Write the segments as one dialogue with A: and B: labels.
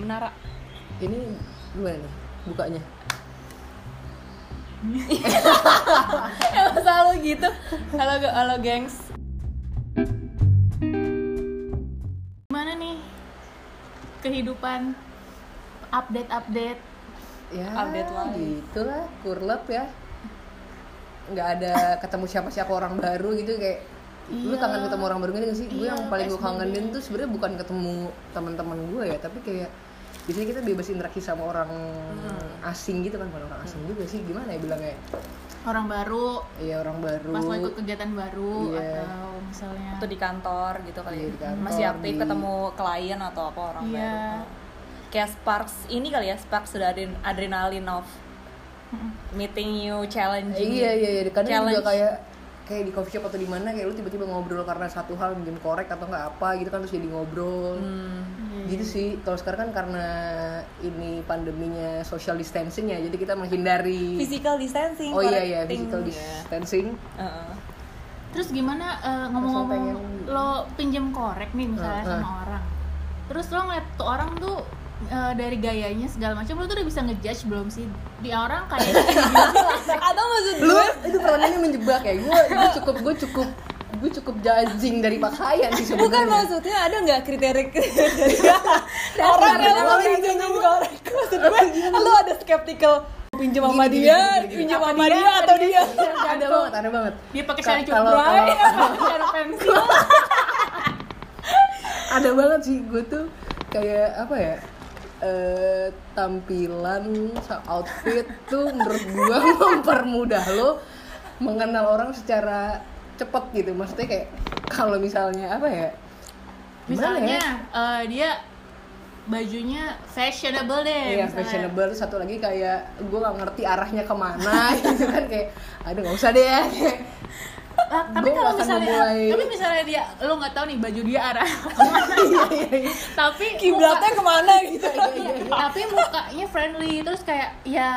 A: menara
B: Ini gimana nih bukanya?
A: emang selalu gitu halo ge- halo gengs gimana nih kehidupan update update
B: Ya,
A: Update live.
B: gitulah, kurlep ya. Nggak ada ketemu siapa-siapa orang baru gitu kayak lu
A: Iya.
B: kangen ketemu orang baru gak sih? gue
A: Iya,
B: yang paling gue
A: PSBB.
B: kangenin tuh sebenarnya bukan ketemu teman-teman gue ya, tapi kayak biasanya kita bebas interaksi sama orang
A: Hmm.
B: asing gitu kan, bukan orang asing juga sih. Gimana ya bilangnya?
A: orang baru
B: Iya orang baru.
A: pas mau ikut kegiatan baru
B: Iya.
A: atau misalnya
C: atau di kantor gitu
B: Iya,
C: kali
B: di kantor,
C: masih aktif
B: di-
C: ketemu klien atau apa orang
A: Iya.
C: baru kayak Sparks ini kali ya Sparks sudah ada adrenalin of meeting you challenging
B: Iya iya iya kadang
C: Challenge.
B: juga kayak kayak di coffee shop atau di mana kayak lu tiba-tiba ngobrol karena satu hal mungkin korek atau nggak apa gitu kan terus jadi ngobrol.
C: Hmm.
B: Gitu sih. Kalau sekarang kan karena ini pandeminya social distancing ya, jadi kita menghindari
C: physical distancing
B: Oh iya iya
C: correcting.
B: physical
C: Iya.
B: distancing.
C: Heeh.
A: terus gimana eh, ngomong-ngomong
B: Langsung
A: lo pinjem korek nih misalnya
B: Heeh.
A: sama orang terus lo ngeliat tuh orang tuh eh, dari gayanya segala macam lo tuh udah bisa ngejudge belum sih di orang kayaknya Nah,
C: atau maksud
B: Lu itu pertanyaannya menjebak ya. Gue gue cukup gue cukup gue cukup judging dari pakaian sih
C: bukan
B: sebenarnya.
C: maksudnya ada nggak kriteria kriteria orang
B: Dasar
C: yang
B: banget
C: mau
B: ini
C: pinjemin korek maksud gue lu ada skeptical pinjam sama
B: Gini, gini,
C: dia
B: gini, gini.
C: pinjam sama dia atau dia
B: ada banget, ada banget.
A: dia pakai
B: Ka-
A: sari
B: kalau-
A: cobray
B: kalau- ya?
A: sari pensil
B: ada banget sih gue tuh kayak apa ya eh, tampilan sa- outfit tuh menurut gue mempermudah lo mengenal orang secara cepet gitu maksudnya kayak kalau misalnya apa ya gimana
A: misalnya
B: ya?
A: eh, dia bajunya fashionable deh
B: Iya
A: misalnya.
B: fashionable terus satu lagi kayak gue nggak ngerti arahnya kemana gitu kan kayak aduh nggak usah deh ya Kayak,
A: Ah, tapi
B: Gua
A: kalau
B: akan
A: misalnya
B: memulai-
A: tapi misalnya dia lo nggak tahu nih baju dia arah
B: iya, iya, iya.
A: tapi
C: kiblatnya kemana gitu
B: Iya, iya, iya.
A: tapi mukanya friendly terus kayak ya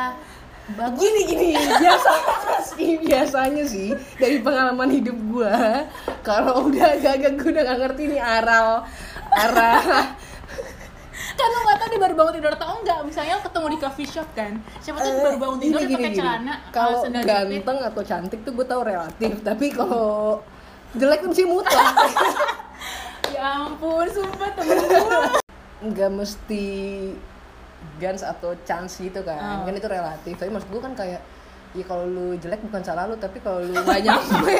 A: bagus
B: gini gini biasanya sih biasanya sih dari pengalaman hidup gua kalau udah agak-agak gua udah gak ngerti nih arah arah
A: kan lo nggak tahu dia baru bangun tidur atau enggak misalnya lo ketemu di coffee shop kan siapa tuh baru bangun tidur
B: Eh,
A: dia
B: Gini,
A: pakai
B: gini, gini.
A: celana eh,
B: kalau
A: sandal jepit.
B: ganteng atau cantik tuh gua tahu relatif tapi kalau jelek tuh sih mutlak
A: ya ampun sumpah temen gue
B: nggak mesti guns atau chance gitu
A: Oh.
B: kan kan itu relatif tapi maksud gua kan kayak ya kalau lu jelek bukan salah lu tapi kalau lu gak nyampe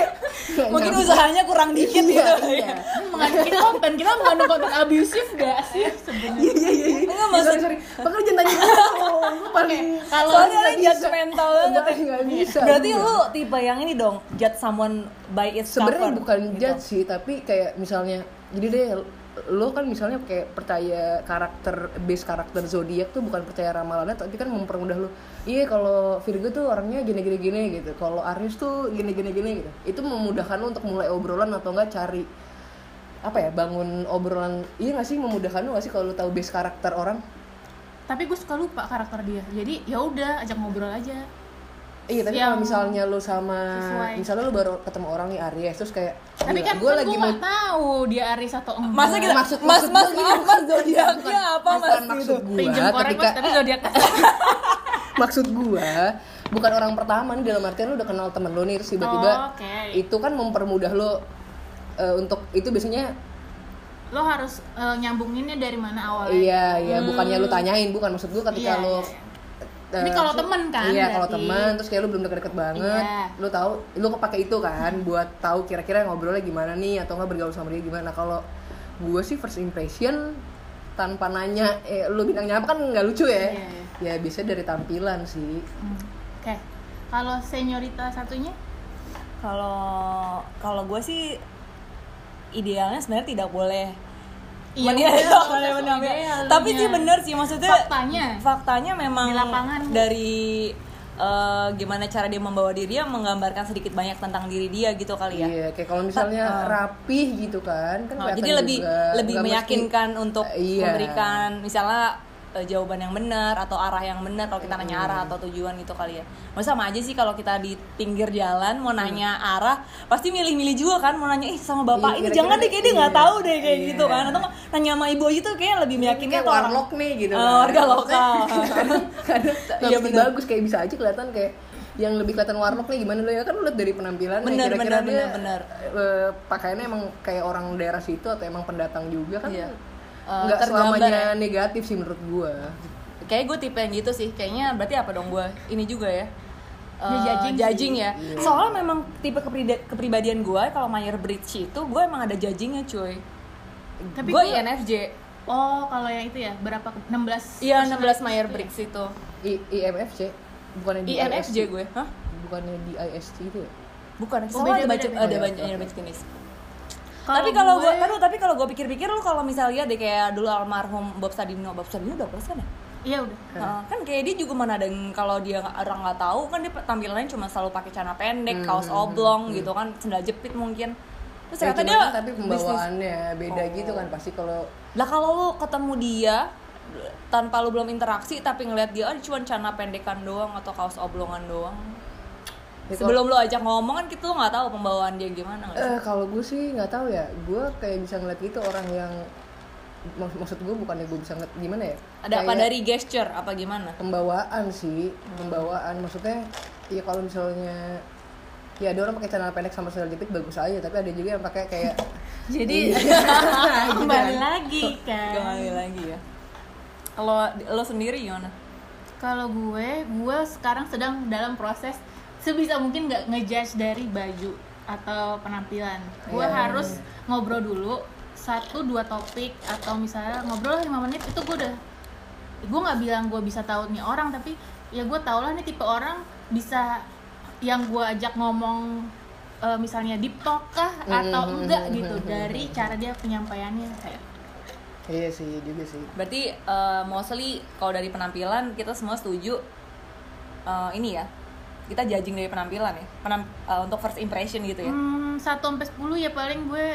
B: nggak
C: mungkin
B: nyampe.
C: usahanya kurang dikit gitu
B: Iya,
C: ya.
B: iya.
A: mengandung konten kita mengandung konten abusif gak sih sebenarnya
B: Iya iya iya.
C: Enggak,
B: Enggak
C: maksud-
B: maksud sorry. Makanya jangan tanya gue. Gue paling
A: kalau
C: soalnya
B: nggak
C: ini
B: bisa.
C: judgmental banget
B: enggak enggak bisa.
C: berarti
B: Iya.
C: lu tipe yang ini dong judge someone by its
B: sebenarnya
C: cover,
B: bukan
C: gitu.
B: judge sih, tapi kayak misalnya jadi deh lo kan misalnya kayak percaya karakter base karakter zodiak tuh bukan percaya ramalannya tapi kan mempermudah lo iya kalau Virgo tuh orangnya gini gini gini gitu kalau Aries tuh gini gini gini gitu itu memudahkan lo untuk mulai obrolan atau enggak cari apa ya bangun obrolan iya nggak sih memudahkan lo nggak sih kalau lo tahu base karakter orang
A: tapi gue suka lupa karakter dia jadi ya udah ajak ngobrol aja
B: Iya, tapi
A: Yang
B: kalau misalnya lu sama
A: sesuai.
B: misalnya lu baru ketemu orang nih Aries terus kayak gila,
A: tapi kan
B: Iya, gua
A: gue
B: lagi mau
A: nggak tahu dia Aries atau enggak
C: masa kita
B: Maksud-
C: mas mas
B: maksud gua gini,
C: maaf mas zodiaknya
B: bukan-
C: apa mas
B: bukan
C: gitu
B: maksud gua
A: pinjam korek
B: ketika
A: mas tapi zodiak
B: maksud gua bukan orang pertama nih dalam artian lu udah kenal temen lu nih terus tiba-tiba
A: Oh, oke.
B: itu kan mempermudah lu eh, untuk itu biasanya
A: lo harus eh, nyambunginnya dari mana awalnya
B: iya iya bukannya lu tanyain bukan maksud gua ketika
A: Hmm. Iya,
B: lu
A: iya,
B: eh,
A: iya. Ini kalau temen kan,
B: Iya, kalau
A: berarti.
B: temen terus kayak lu belum deket-deket banget.
A: Iya.
B: Lu tahu, lu kepake itu kan buat tahu kira-kira ngobrolnya gimana nih atau nggak bergaul sama dia gimana. Nah, kalau gue sih first impression tanpa nanya eh lu bintangnya apa kan nggak lucu ya.
A: Iya,
B: Ya biasanya dari tampilan sih.
A: Hmm, oke kalau seniorita satunya
C: kalau kalau gue sih idealnya sebenarnya tidak boleh
A: Iya,
C: Menilai
A: udah,
C: apa
A: proses
C: yang menilai.
A: idealnya.
C: tapi sih bener sih maksudnya
A: faktanya
C: faktanya memang
A: Di lapangan.
C: dari eh, gimana cara dia membawa diri dia menggambarkan sedikit banyak tentang diri dia gitu kali ya
B: Iya, kayak kalau misalnya rapih gitu kan kan
C: Oh,
B: kelihatan
C: jadi lebih
B: juga,
C: lebih
B: nggak mesti-
C: meyakinkan untuk
B: Iya.
C: memberikan misalnya eh, jawaban yang benar atau arah yang benar kalau kita nanya arah atau tujuan gitu kali ya. Maksudnya sama aja sih kalau kita di pinggir jalan
B: Hmm.
C: mau nanya arah pasti milih-milih juga kan mau nanya ih sama bapak ini
B: Iya, kira-kira
C: jangan deh
B: nih,
C: kayak dia nggak
B: iya.
C: tahu deh kayak
B: Iya.
C: gitu kan atau nggak nanya sama ibu aja tuh kayak lebih meyakinkan
B: Kayak
C: tuh orang
B: warlock nih gitu
C: Eh,
B: kan.
C: warga lokal.
B: karena
C: Iya,
B: iya,
C: bener.
B: bagus kayak bisa aja kelihatan kayak yang lebih kelihatan warlock nih gimana lo ya kan lo liat dari penampilan
C: Bener, bener,
B: kira-kira dia
C: bener, bener.
B: eh, pakaiannya emang kayak orang daerah situ atau emang pendatang juga kan
C: Iya. Eh,
B: nggak
C: tergambar
B: selamanya negatif sih menurut gua
C: kayak gue tipe yang gitu sih kayaknya berarti apa dong gue ini juga ya Eh,
A: Dia judging sih.
C: ya
B: Iya.
C: soalnya memang tipe keprida- kepribadian gue kalau Mayer Bridge itu gue emang ada judgingnya cuy gue
A: Tapi gua- iya.
C: INFJ
A: Oh, kalau yang itu ya berapa? 16.
C: iya 16 Mayer Briggs itu
B: I- IMFC bukannya di IST.
C: INFJ gue ya? hah
B: bukannya di IST itu ya
C: bukan
A: Oh,
C: sama ada
A: beda-beda,
C: banyak
A: beda-beda.
C: ada banyak ada banyak jenis tapi kalau gue
A: kan
C: taruh tapi kalau gue pikir-pikir lu kalau misalnya deh kayak dulu almarhum Bob Sadino Bob Sadino udah plus kan ya
A: Iya udah.
C: Heeh, kan kayak dia juga mana ada yang- kalau dia nggak- orang nggak tahu kan dia tampilannya cuma selalu pakai celana pendek kaos oblong gitu kan sendal jepit mungkin terus
B: Ya,
C: ternyata
B: cuman
C: dia
B: kan tapi pembawaannya beda gitu kan pasti kalau
C: lah kalau lu ketemu dia tanpa lu belum interaksi tapi ngelihat dia oh, cuma celana pendekan doang atau kaos oblongan doang
B: Ya, kalau-
C: sebelum lu ajak ngomong kan kita lu nggak tahu pembawaan dia gimana nggak sih?
B: Eh, kalau gue sih nggak tahu ya, gue kayak bisa ngeliat gitu orang yang mak- maksud gue bukannya gue bisa ngeliat gimana ya?
C: ada apa
B: Kayak
C: dari gesture apa gimana
B: pembawaan sih, pembawaan maksudnya ya kalau misalnya ya ada orang pakai celana pendek sama sandal jepit bagus aja, tapi ada juga yang pakai kayak Iya.
A: Jadi kembali lagi kan.
C: kembali lagi ya kalau di- lo sendiri gimana
A: Kalau gue, gue sekarang sedang dalam proses sebisa mungkin nggak ngejudge dari baju atau penampilan. Gue
B: Iya.
A: harus ngobrol dulu satu dua topik atau misalnya ngobrol lima menit itu gue udah gue nggak bilang gue bisa tahu nih orang tapi ya gue tau lah nih tipe orang bisa yang gue ajak ngomong eh, misalnya deep talk kah
B: Hmm,
A: atau enggak gitu dari cara dia penyampaiannya kayak
B: iya sih juga sih.
C: Berarti eh, mostly kalau dari penampilan kita semua setuju eh, ini ya. Kita judging dari penampilan ya. Penam- eh, untuk first impression gitu
B: Iya.
C: ya.
A: Hmm, 1 sampai 10 ya paling gue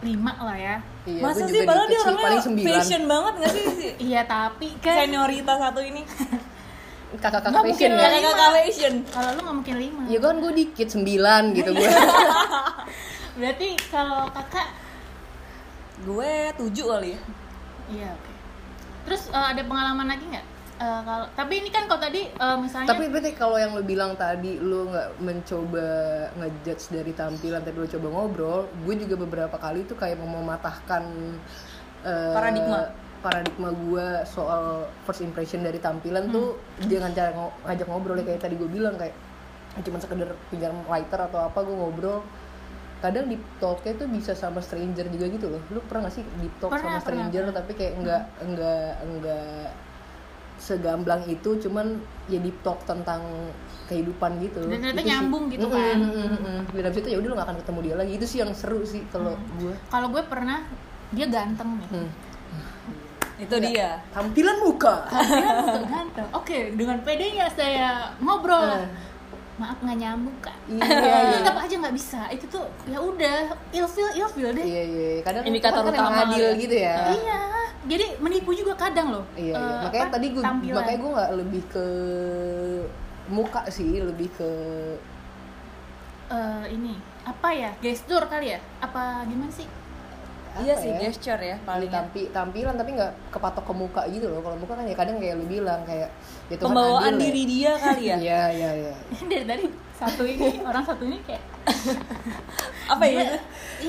A: 5 lah ya.
B: Iya, gue
C: Masa
B: juga
C: sih
B: dari
C: padahal dia
B: kecil
C: orangnya
B: paling sembilan.
C: fashion banget gak sih si
A: Iya, tapi kan
C: seniorita satu ini?
B: Kakak-kakak
A: Nggak mungkin
B: fashion ya.
A: lah.
C: Kakak-kakak fashion.
A: kalau lu nggak mungkin 5.
B: Ya kan gue dikit sembilan gitu gue.
A: Berarti kalau kakak
C: Gue tujuh kali ya.
A: iya oke. Terus eh, ada pengalaman lagi nggak? Eh, kalau tapi ini kan kalau tadi eh, misalnya
B: tapi berarti kalau yang lu bilang tadi lu nggak mencoba ngejudge dari tampilan tapi lu coba ngobrol gue juga beberapa kali tuh kayak mau mematahkan eh,
C: Paradigma.
B: paradigma gue soal first impression dari tampilan tuh
A: Hmm.
B: dengan cara ngo- ngajak ngobrol ya, kayak tadi gue bilang kayak ya cuma sekedar pinjam lighter atau apa gue ngobrol kadang di talknya tuh bisa sama stranger juga gitu loh lu pernah gak sih di talk sama
A: Pernah, pernah, Hmm.
B: stranger tapi kayak nggak nggak nggak segamblang itu cuman ya di talk tentang kehidupan gitu
A: Dan ternyata
B: Itu sih.
A: nyambung gitu
B: Mm-mm,
A: kan.
B: mm-mm, mm-mm. dan abis itu ya udah lu gak akan ketemu dia lagi itu sih yang seru sih kalau gue
A: kalau gue pernah dia ganteng nih.
B: Hmm.
C: Itu dia.
B: tampilan muka
A: Dia ganteng, ganteng. Oke, dengan pedenya saya ngobrol.
B: Hmm.
A: Maaf nggak nyambung kak.
B: Iya, iya.
A: Tetap aja nggak bisa. Itu tuh ya udah ilfil ilfil deh.
B: iya iya kadang
C: Indikator
B: orang kan emang
C: utama
B: adil
C: ya.
B: gitu ya
A: Iya, jadi menipu juga kadang loh.
B: iya, iya.
A: Eh,
B: makanya
A: apa,
B: tadi gue
A: tampilan.
B: makanya gue nggak lebih ke muka sih lebih ke
A: Eh, ini apa ya gestur kali ya? Apa gimana sih?
B: apa
C: Iya sih
B: ya?
C: gesture ya
B: paling
C: paling.
B: tampi, tampilan tapi nggak kepatok ke muka gitu loh kalau muka kan ya kadang kayak lu bilang kayak ya Tuhan
C: Pembawaan
B: adil ya.
C: diri dia kali ya.
B: iya iya iya
A: Dari tadi satu ini orang satu ini kayak
C: Apa ya?
A: "Gua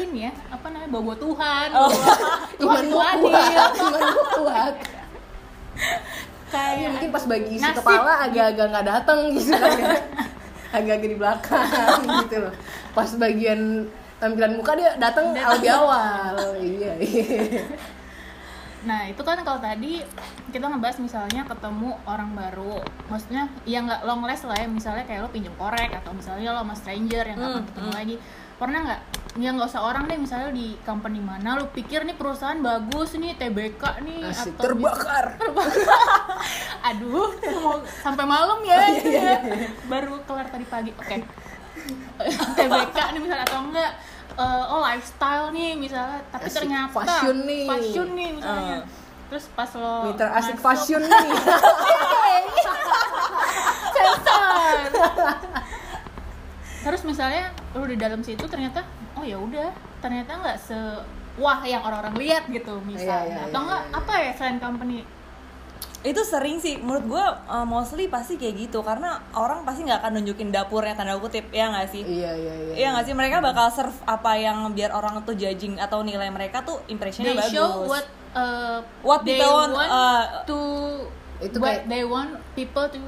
A: ini ya apa namanya bawa Tuhan,
C: Oh.
A: bawa
B: Iman
A: Tuhan
B: gua
A: Tuhan
B: kuat, iman gua kuat. Tapi
A: kayak
B: mungkin pas bagi isi
A: Nasib.
B: kepala agak-agak nggak datang gitu kan ya. Agak-agak di belakang gitu loh. Pas bagian tampilan muka dia datang lebih awal. Iya. iya.
A: Nah itu kan kalau tadi kita ngebahas misalnya ketemu orang baru Maksudnya ya nggak long last lah ya Misalnya kayak lo pinjem korek atau misalnya lo sama stranger yang nggak akan
C: Hmm,
A: ketemu lagi Pernah nggak? Ya nggak usah orang deh misalnya di company mana Lo pikir nih perusahaan bagus nih TBK nih
B: Asik
A: atau gitu. mis-
B: terbakar.
A: Aduh mau sampai malam
B: Oh,
A: ya
B: iya,
A: gitu ya. Baru kelar tadi pagi Oke TBK nih misalnya atau enggak eh, oh lifestyle nih misalnya tapi
B: Asik,
A: ternyata
B: fashion nih.
A: fashion nih misalnya
C: Eh.
A: terus pas lo
B: Mitra
C: Oh,
B: asik
A: masuk-
B: fashion nih.
A: Sensor. terus misalnya lu di dalam situ ternyata oh ya udah ternyata nggak se wah yang orang-orang lihat gitu misalnya
B: Iya, iya,
A: atau
B: iya,
A: nggak
B: iya, iya.
A: apa ya selain company
C: itu sering sih menurut gue uh, mostly pasti kayak gitu karena orang pasti nggak akan nunjukin dapurnya tanda kutip ya nggak sih
B: Iya iya iya.
C: Iya nggak sih mereka bakal serve apa yang biar orang tuh judging atau nilai mereka tuh impressionnya
A: they
C: bagus.
A: show what uh,
C: What
A: they
C: people want, uh,
A: to
B: Itu
A: what
B: kayak-
A: they want people to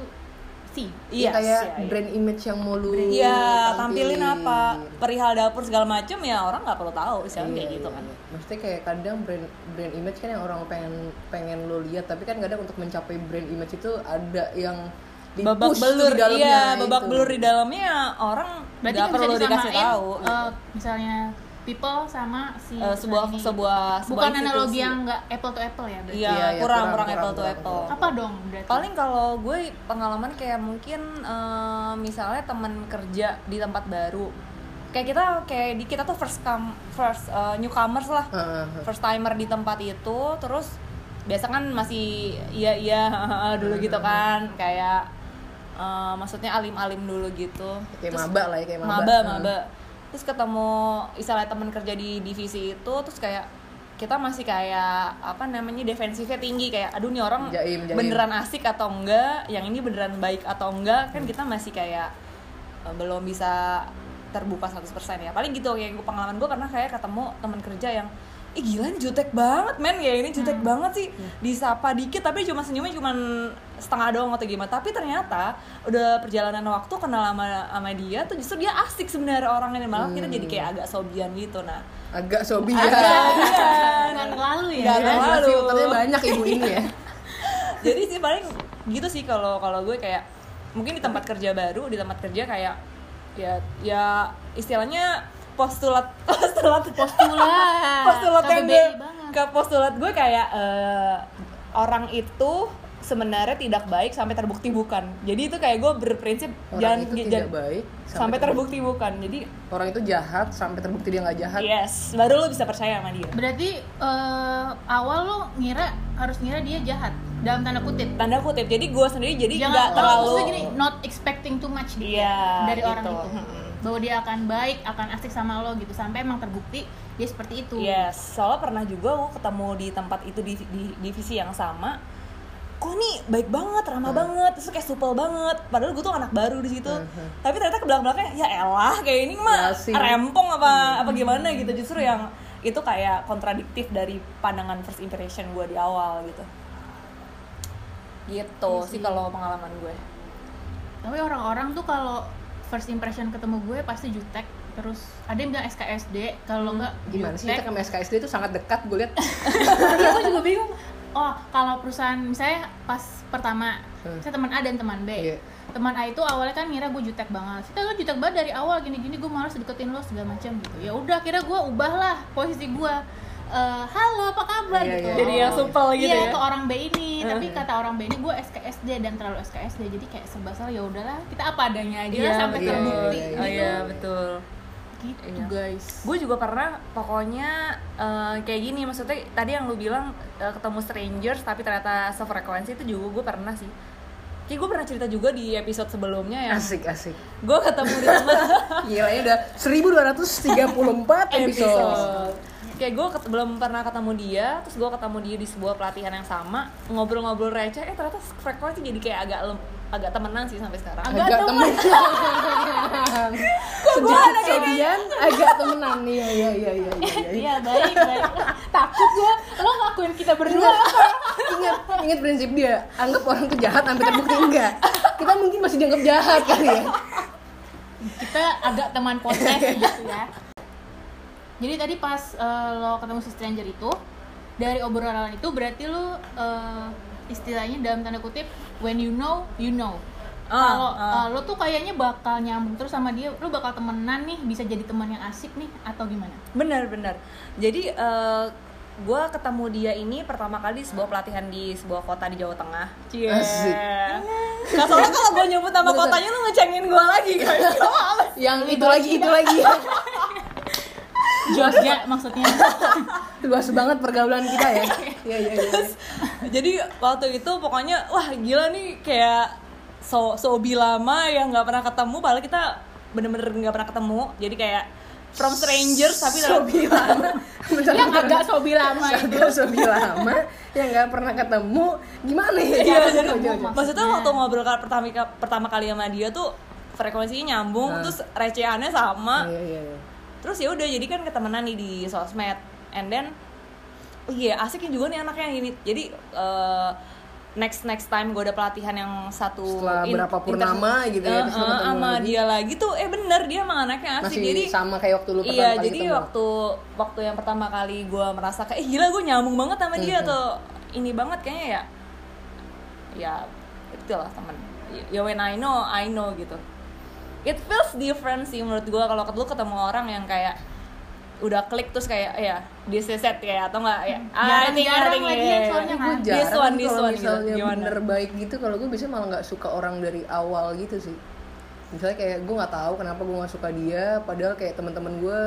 A: see
B: Iya
C: Yes,
B: kayak
C: iya, iya.
B: brand image yang mau lu
C: Iya, tampilin apa perihal dapur segala macem ya orang nggak perlu tahu misalnya kayak gitu kan.
B: Iya. Maksudnya kayak kadang brand brand image kan yang orang pengen pengen lo lihat, tapi kan kadang untuk mencapai brand image itu ada yang di-push
C: Babak
B: tuh
C: belur,
B: di dalamnya, gitu.
C: iya babak
B: itu.
C: belur di dalamnya orang
A: berarti
C: nggak
A: nggak
C: perlu
A: bisa
C: dikasih
A: disamain,
C: tahu.
A: uh, misalnya people sama si
C: Eh, sebuah
A: ini.
C: sebuah sebuah
A: bukan
C: institusi.
A: analogi yang nggak apple to apple ya berarti
C: Iya,
B: Iya, iya,
C: kurang,
B: kurang,
C: kurang apple to
B: kurang,
C: apple.
B: kurang.
A: apa dong berarti
C: Paling kalau gue pengalaman kayak mungkin eh, misalnya temen kerja di tempat baru. Kayak kita kayak di kita tuh first come first eh, newcomers lah.
B: Heeh.
C: first timer di tempat itu terus biasa kan masih iya iya dulu gitu kan kayak eh, maksudnya alim-alim dulu gitu
B: Kayak
C: Terus-
B: maba lah ya, kayak maba.
C: maba
B: Hmm.
C: maba. terus ketemu misalnya teman kerja di divisi itu terus kayak kita masih kayak apa namanya defensifnya tinggi kayak aduh nih orang
B: Jaim, jaim.
C: beneran asik atau enggak yang ini beneran baik atau enggak kan kita masih kayak eh, belum bisa terbuka 100% ya paling gitu kayak gua- pengalaman gue karena kayak ketemu teman kerja yang ih gila nih jutek banget men ya ini jutek banget sih disapa dikit tapi cuma senyumnya cuma setengah doang atau gimana tapi ternyata udah perjalanan waktu kenal sama sama dia tuh justru dia asik sebenarnya orangnya dan malah kita jadi kayak agak sobian gitu nah
B: Agak sobi ya.
A: nggak terlalu ya
C: Nggak
B: Iya,
C: terlalu.
B: masih filternya banyak ibu ini ya.
C: jadi sih paling gitu sih kalau kalau gue kayak mungkin di tempat kerja baru di tempat kerja kayak ya ya istilahnya postulat postulat
A: postulat
C: postulat yang
A: KBBI
C: gue
A: banget.
C: ke postulat gue kayak eh, orang itu sebenarnya tidak baik sampai terbukti bukan jadi itu kayak gue berprinsip
B: Orang
C: jangan
B: itu
C: jangan-
B: tidak baik
C: sampai, terbukti bukan jadi
B: orang itu jahat sampai terbukti dia nggak jahat.
C: yes baru lo bisa percaya sama dia
A: berarti eh, awal lo ngira harus ngira dia jahat dalam tanda kutip
C: tanda kutip jadi gue sendiri jadi nggak
A: jangan oh,
C: terlalu
A: maksudnya gini not expecting too much gitu
C: Iya,
A: dari orang
C: gitu.
A: itu bahwa dia akan baik akan asik sama lo gitu sampai emang terbukti dia seperti itu
C: Yes, Iya, soalnya pernah juga gue ketemu di tempat itu di, di divisi yang sama. Kok nih baik banget, ramah banget, terus kayak supel banget. Padahal gue tuh anak baru di situ. Tapi ternyata ke belakang-belakangnya ya elah kayak ini mah
B: Basi.
C: rempong apa apa gimana gitu. Justru yang itu kayak kontradiktif dari pandangan first impression gue di awal gitu. Gitu sih kalau pengalaman gue.
A: tapi orang-orang tuh kalau first impression ketemu gue pasti jutek terus ada yang bilang SKSD kalau nggak
B: Gimana sih Kan kita sama SKSD itu sangat dekat gue lihat.
A: Iya, gue juga bingung. Oh, kalau perusahaan misalnya pas pertama,
B: Hmm.
A: saya teman A dan teman B.
B: Iya.
A: Teman A itu awalnya kan ngira gue jutek banget. Kita lo jutek banget dari awal gini-gini gue malas deketin lo segala macam gitu. Ya udah, kira gue ubahlah posisi gue. Eh, halo, apa kabar
B: Iya,
A: gitu.
B: iya.
C: Jadi yang supel gitu
A: Iya,
C: ya.
A: ke orang B ini, tapi kata orang B ini gue SKSD dan terlalu SKSD. Jadi kayak serba salah ya udahlah, kita apa adanya aja lah sampai
B: betul.
A: terbukti.
B: Iya,
C: Oh
A: gitu.
C: iya, betul.
A: Gitu,
C: Iya.
A: guys.
C: gue juga pernah pokoknya eh, kayak gini maksudnya tadi yang lu bilang eh, ketemu strangers tapi ternyata sefrekuensi itu juga gue pernah sih kayak gue pernah cerita juga di episode sebelumnya ya
B: Asik asik.
C: gue ketemu di tempat
B: Gila ini udah 1234 episode.
C: episode kayak gue ket- belum pernah ketemu dia terus gue ketemu dia di sebuah pelatihan yang sama ngobrol-ngobrol receh eh ternyata frekuensi jadi kayak agak lem- agak temenan sih sampai sekarang
A: Agak
B: Agak
A: temen.
B: temenan. Sejak kejadian agak temenan. Iya iya iya iya iya. iya.
A: Iya, baik, baik. Takut gue, lo ngakuin kita berdua.
B: Ingat ingat prinsip dia, anggap orang tuh jahat sampai terbukti enggak. Kita mungkin masih dianggap jahat kali ya.
A: kita agak teman podcast gitu ya jadi tadi pas eh, lo ketemu si stranger itu dari obrolan itu berarti lo eh, istilahnya dalam tanda kutip when you know you know
C: Ah,
A: kalau
C: ah.
A: eh, lo tuh kayaknya bakal nyambung terus sama dia lo bakal temenan nih bisa jadi teman yang asik nih atau gimana
C: Benar-benar. Jadi eh gue ketemu dia ini pertama kali di sebuah pelatihan di sebuah kota di Jawa Tengah. Cie.
B: Asik.
C: Nah, soalnya kalau gue nyebut nama kotanya lu ngecengin gue lagi kan.
B: Yang itu lagi itu lagi.
A: Jogja maksudnya
B: Luas banget pergaulan kita ya. Iya iya iya.
C: jadi waktu itu pokoknya wah gila nih kayak so sobi lama yang nggak pernah ketemu padahal kita bener-bener nggak pernah ketemu jadi kayak from strangers tapi dalam
B: sobi lama Bentar,
C: Iya,
A: yang
B: bentar.
A: agak sobi lama ya. itu
B: Agak sobi lama yang nggak pernah ketemu gimana ya?
C: Iya, jadi
B: Jangan, jangan, jangan.
A: maksudnya.
C: maksudnya waktu
B: Iya.
C: ngobrol kali pertama pertama kali sama dia tuh frekuensinya nyambung
B: Nah.
C: terus recehannya sama
B: Iya, iya, iya.
C: terus ya udah jadi kan ketemenan nih di sosmed and then oh iya asiknya juga nih anaknya ini jadi eh, next next time gue ada pelatihan yang satu
B: Setelah berapa purnama gitu ya,
C: Eh,
B: terus lu
C: eh,
B: ketemu
C: sama
B: lagi.
C: dia lagi tuh eh bener dia emang anaknya asik
B: Masih
C: jadi
B: sama kayak waktu lu pertama
C: iya
B: kali
C: jadi
B: ketemu.
C: waktu waktu yang pertama kali gue merasa kayak eh, gila gue nyambung banget sama
B: Mm-hmm.
C: dia atau ini banget kayaknya ya ya itu lah temen ya when I know I know gitu it feels different sih menurut gue kalau lu ketemu orang yang kayak udah klik terus kayak ya this is it ya atau enggak ya
B: Mm-hmm.
C: I think-
A: Jarang-jarang
C: I think,
A: lagi
C: ya,
A: yang
C: ya, ya.
A: soalnya
B: gue kan.
A: This
C: one,
B: jarang sih
C: this
B: kalau
C: one gitu.
B: misalnya
C: Gimana?
B: bener baik gitu kalau gue biasanya malah nggak suka orang dari awal gitu sih misalnya kayak gue nggak tahu kenapa gue nggak suka dia padahal kayak teman-teman gue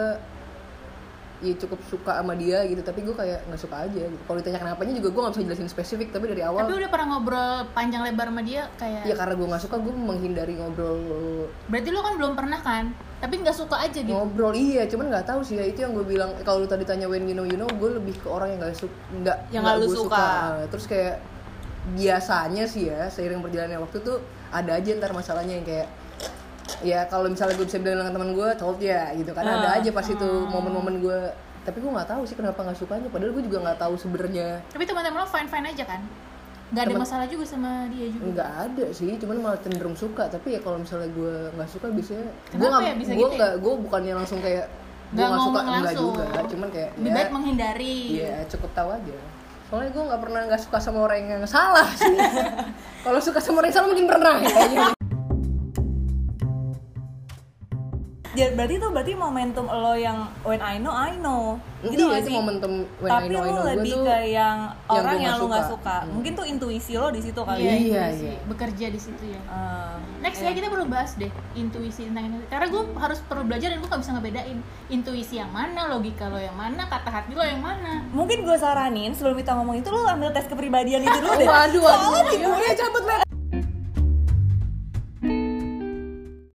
B: ya cukup suka sama dia gitu tapi gue kayak nggak suka aja gitu kalau ditanya kenapanya juga gue nggak bisa jelasin spesifik tapi dari awal
A: tapi udah pernah ngobrol panjang lebar sama dia kayak
B: ya karena gue nggak suka gue menghindari ngobrol
A: berarti lu kan belum pernah kan tapi nggak suka aja gitu
B: ngobrol iya cuman nggak tahu sih ya itu yang gue bilang eh, kalau lu tadi tanya when you know you know gue lebih ke orang yang nggak suka nggak
C: Yang
B: nggak
C: nggak lu
B: gua
C: suka.
B: Eh, terus kayak biasanya sih ya seiring perjalannya waktu tuh ada aja ntar masalahnya yang kayak ya kalau misalnya gue bisa bilang dengan teman gue told ya gitu kan ada
C: Ah.
B: aja pas itu momen-momen gue tapi gue nggak tahu sih kenapa nggak sukanya padahal gue juga nggak tahu sebenarnya
A: tapi teman-teman lo fine fine aja kan nggak ada
B: Temen-
A: masalah juga sama dia juga
B: nggak ada sih cuman malah cenderung suka tapi ya kalau misalnya gue nggak suka biasanya gue
A: Kenapa
B: nggak
A: ya bisa
B: gue
A: gitu ya?
B: nggak gue bukannya langsung kayak gue nggak suka
A: ngomong
B: enggak
A: langsung.
B: juga cuman kayak
A: lebih
B: ya,
A: baik menghindari
B: Iya, cukup tahu aja. Soalnya gue nggak pernah nggak suka sama orang yang salah sih. Kalau suka sama orang yang salah mungkin pernah ya. kayaknya.
C: Ja- Ya, berarti itu berarti momentum lo yang when I know I know gitu
B: Iya,
C: nggak
B: itu
C: sih?
B: momentum when
C: tapi
B: I know I
C: lo
B: know. Gua
C: lebih
B: tuh
C: ke yang
B: yang
C: orang
B: gua
C: yang,
B: nggak
C: lo nggak
B: suka. Mm.
C: suka mungkin tuh intuisi lo di situ kali
A: Iya,
C: ya
B: Iya,
A: intuisi.
B: iya.
A: bekerja di situ ya
C: Eh,
A: Next
C: iya.
A: ya kita perlu bahas deh intuisi tentang intuisi. Karena gue harus perlu belajar dan gue gak bisa ngebedain intuisi yang mana, logika lo yang mana, kata hati lo yang mana.
C: mungkin gue saranin sebelum kita ngomong itu lo ambil tes kepribadian itu dulu deh
B: Waduh, waduh.
C: soalnya di
B: Iya,
C: Google
B: cabut, Mat.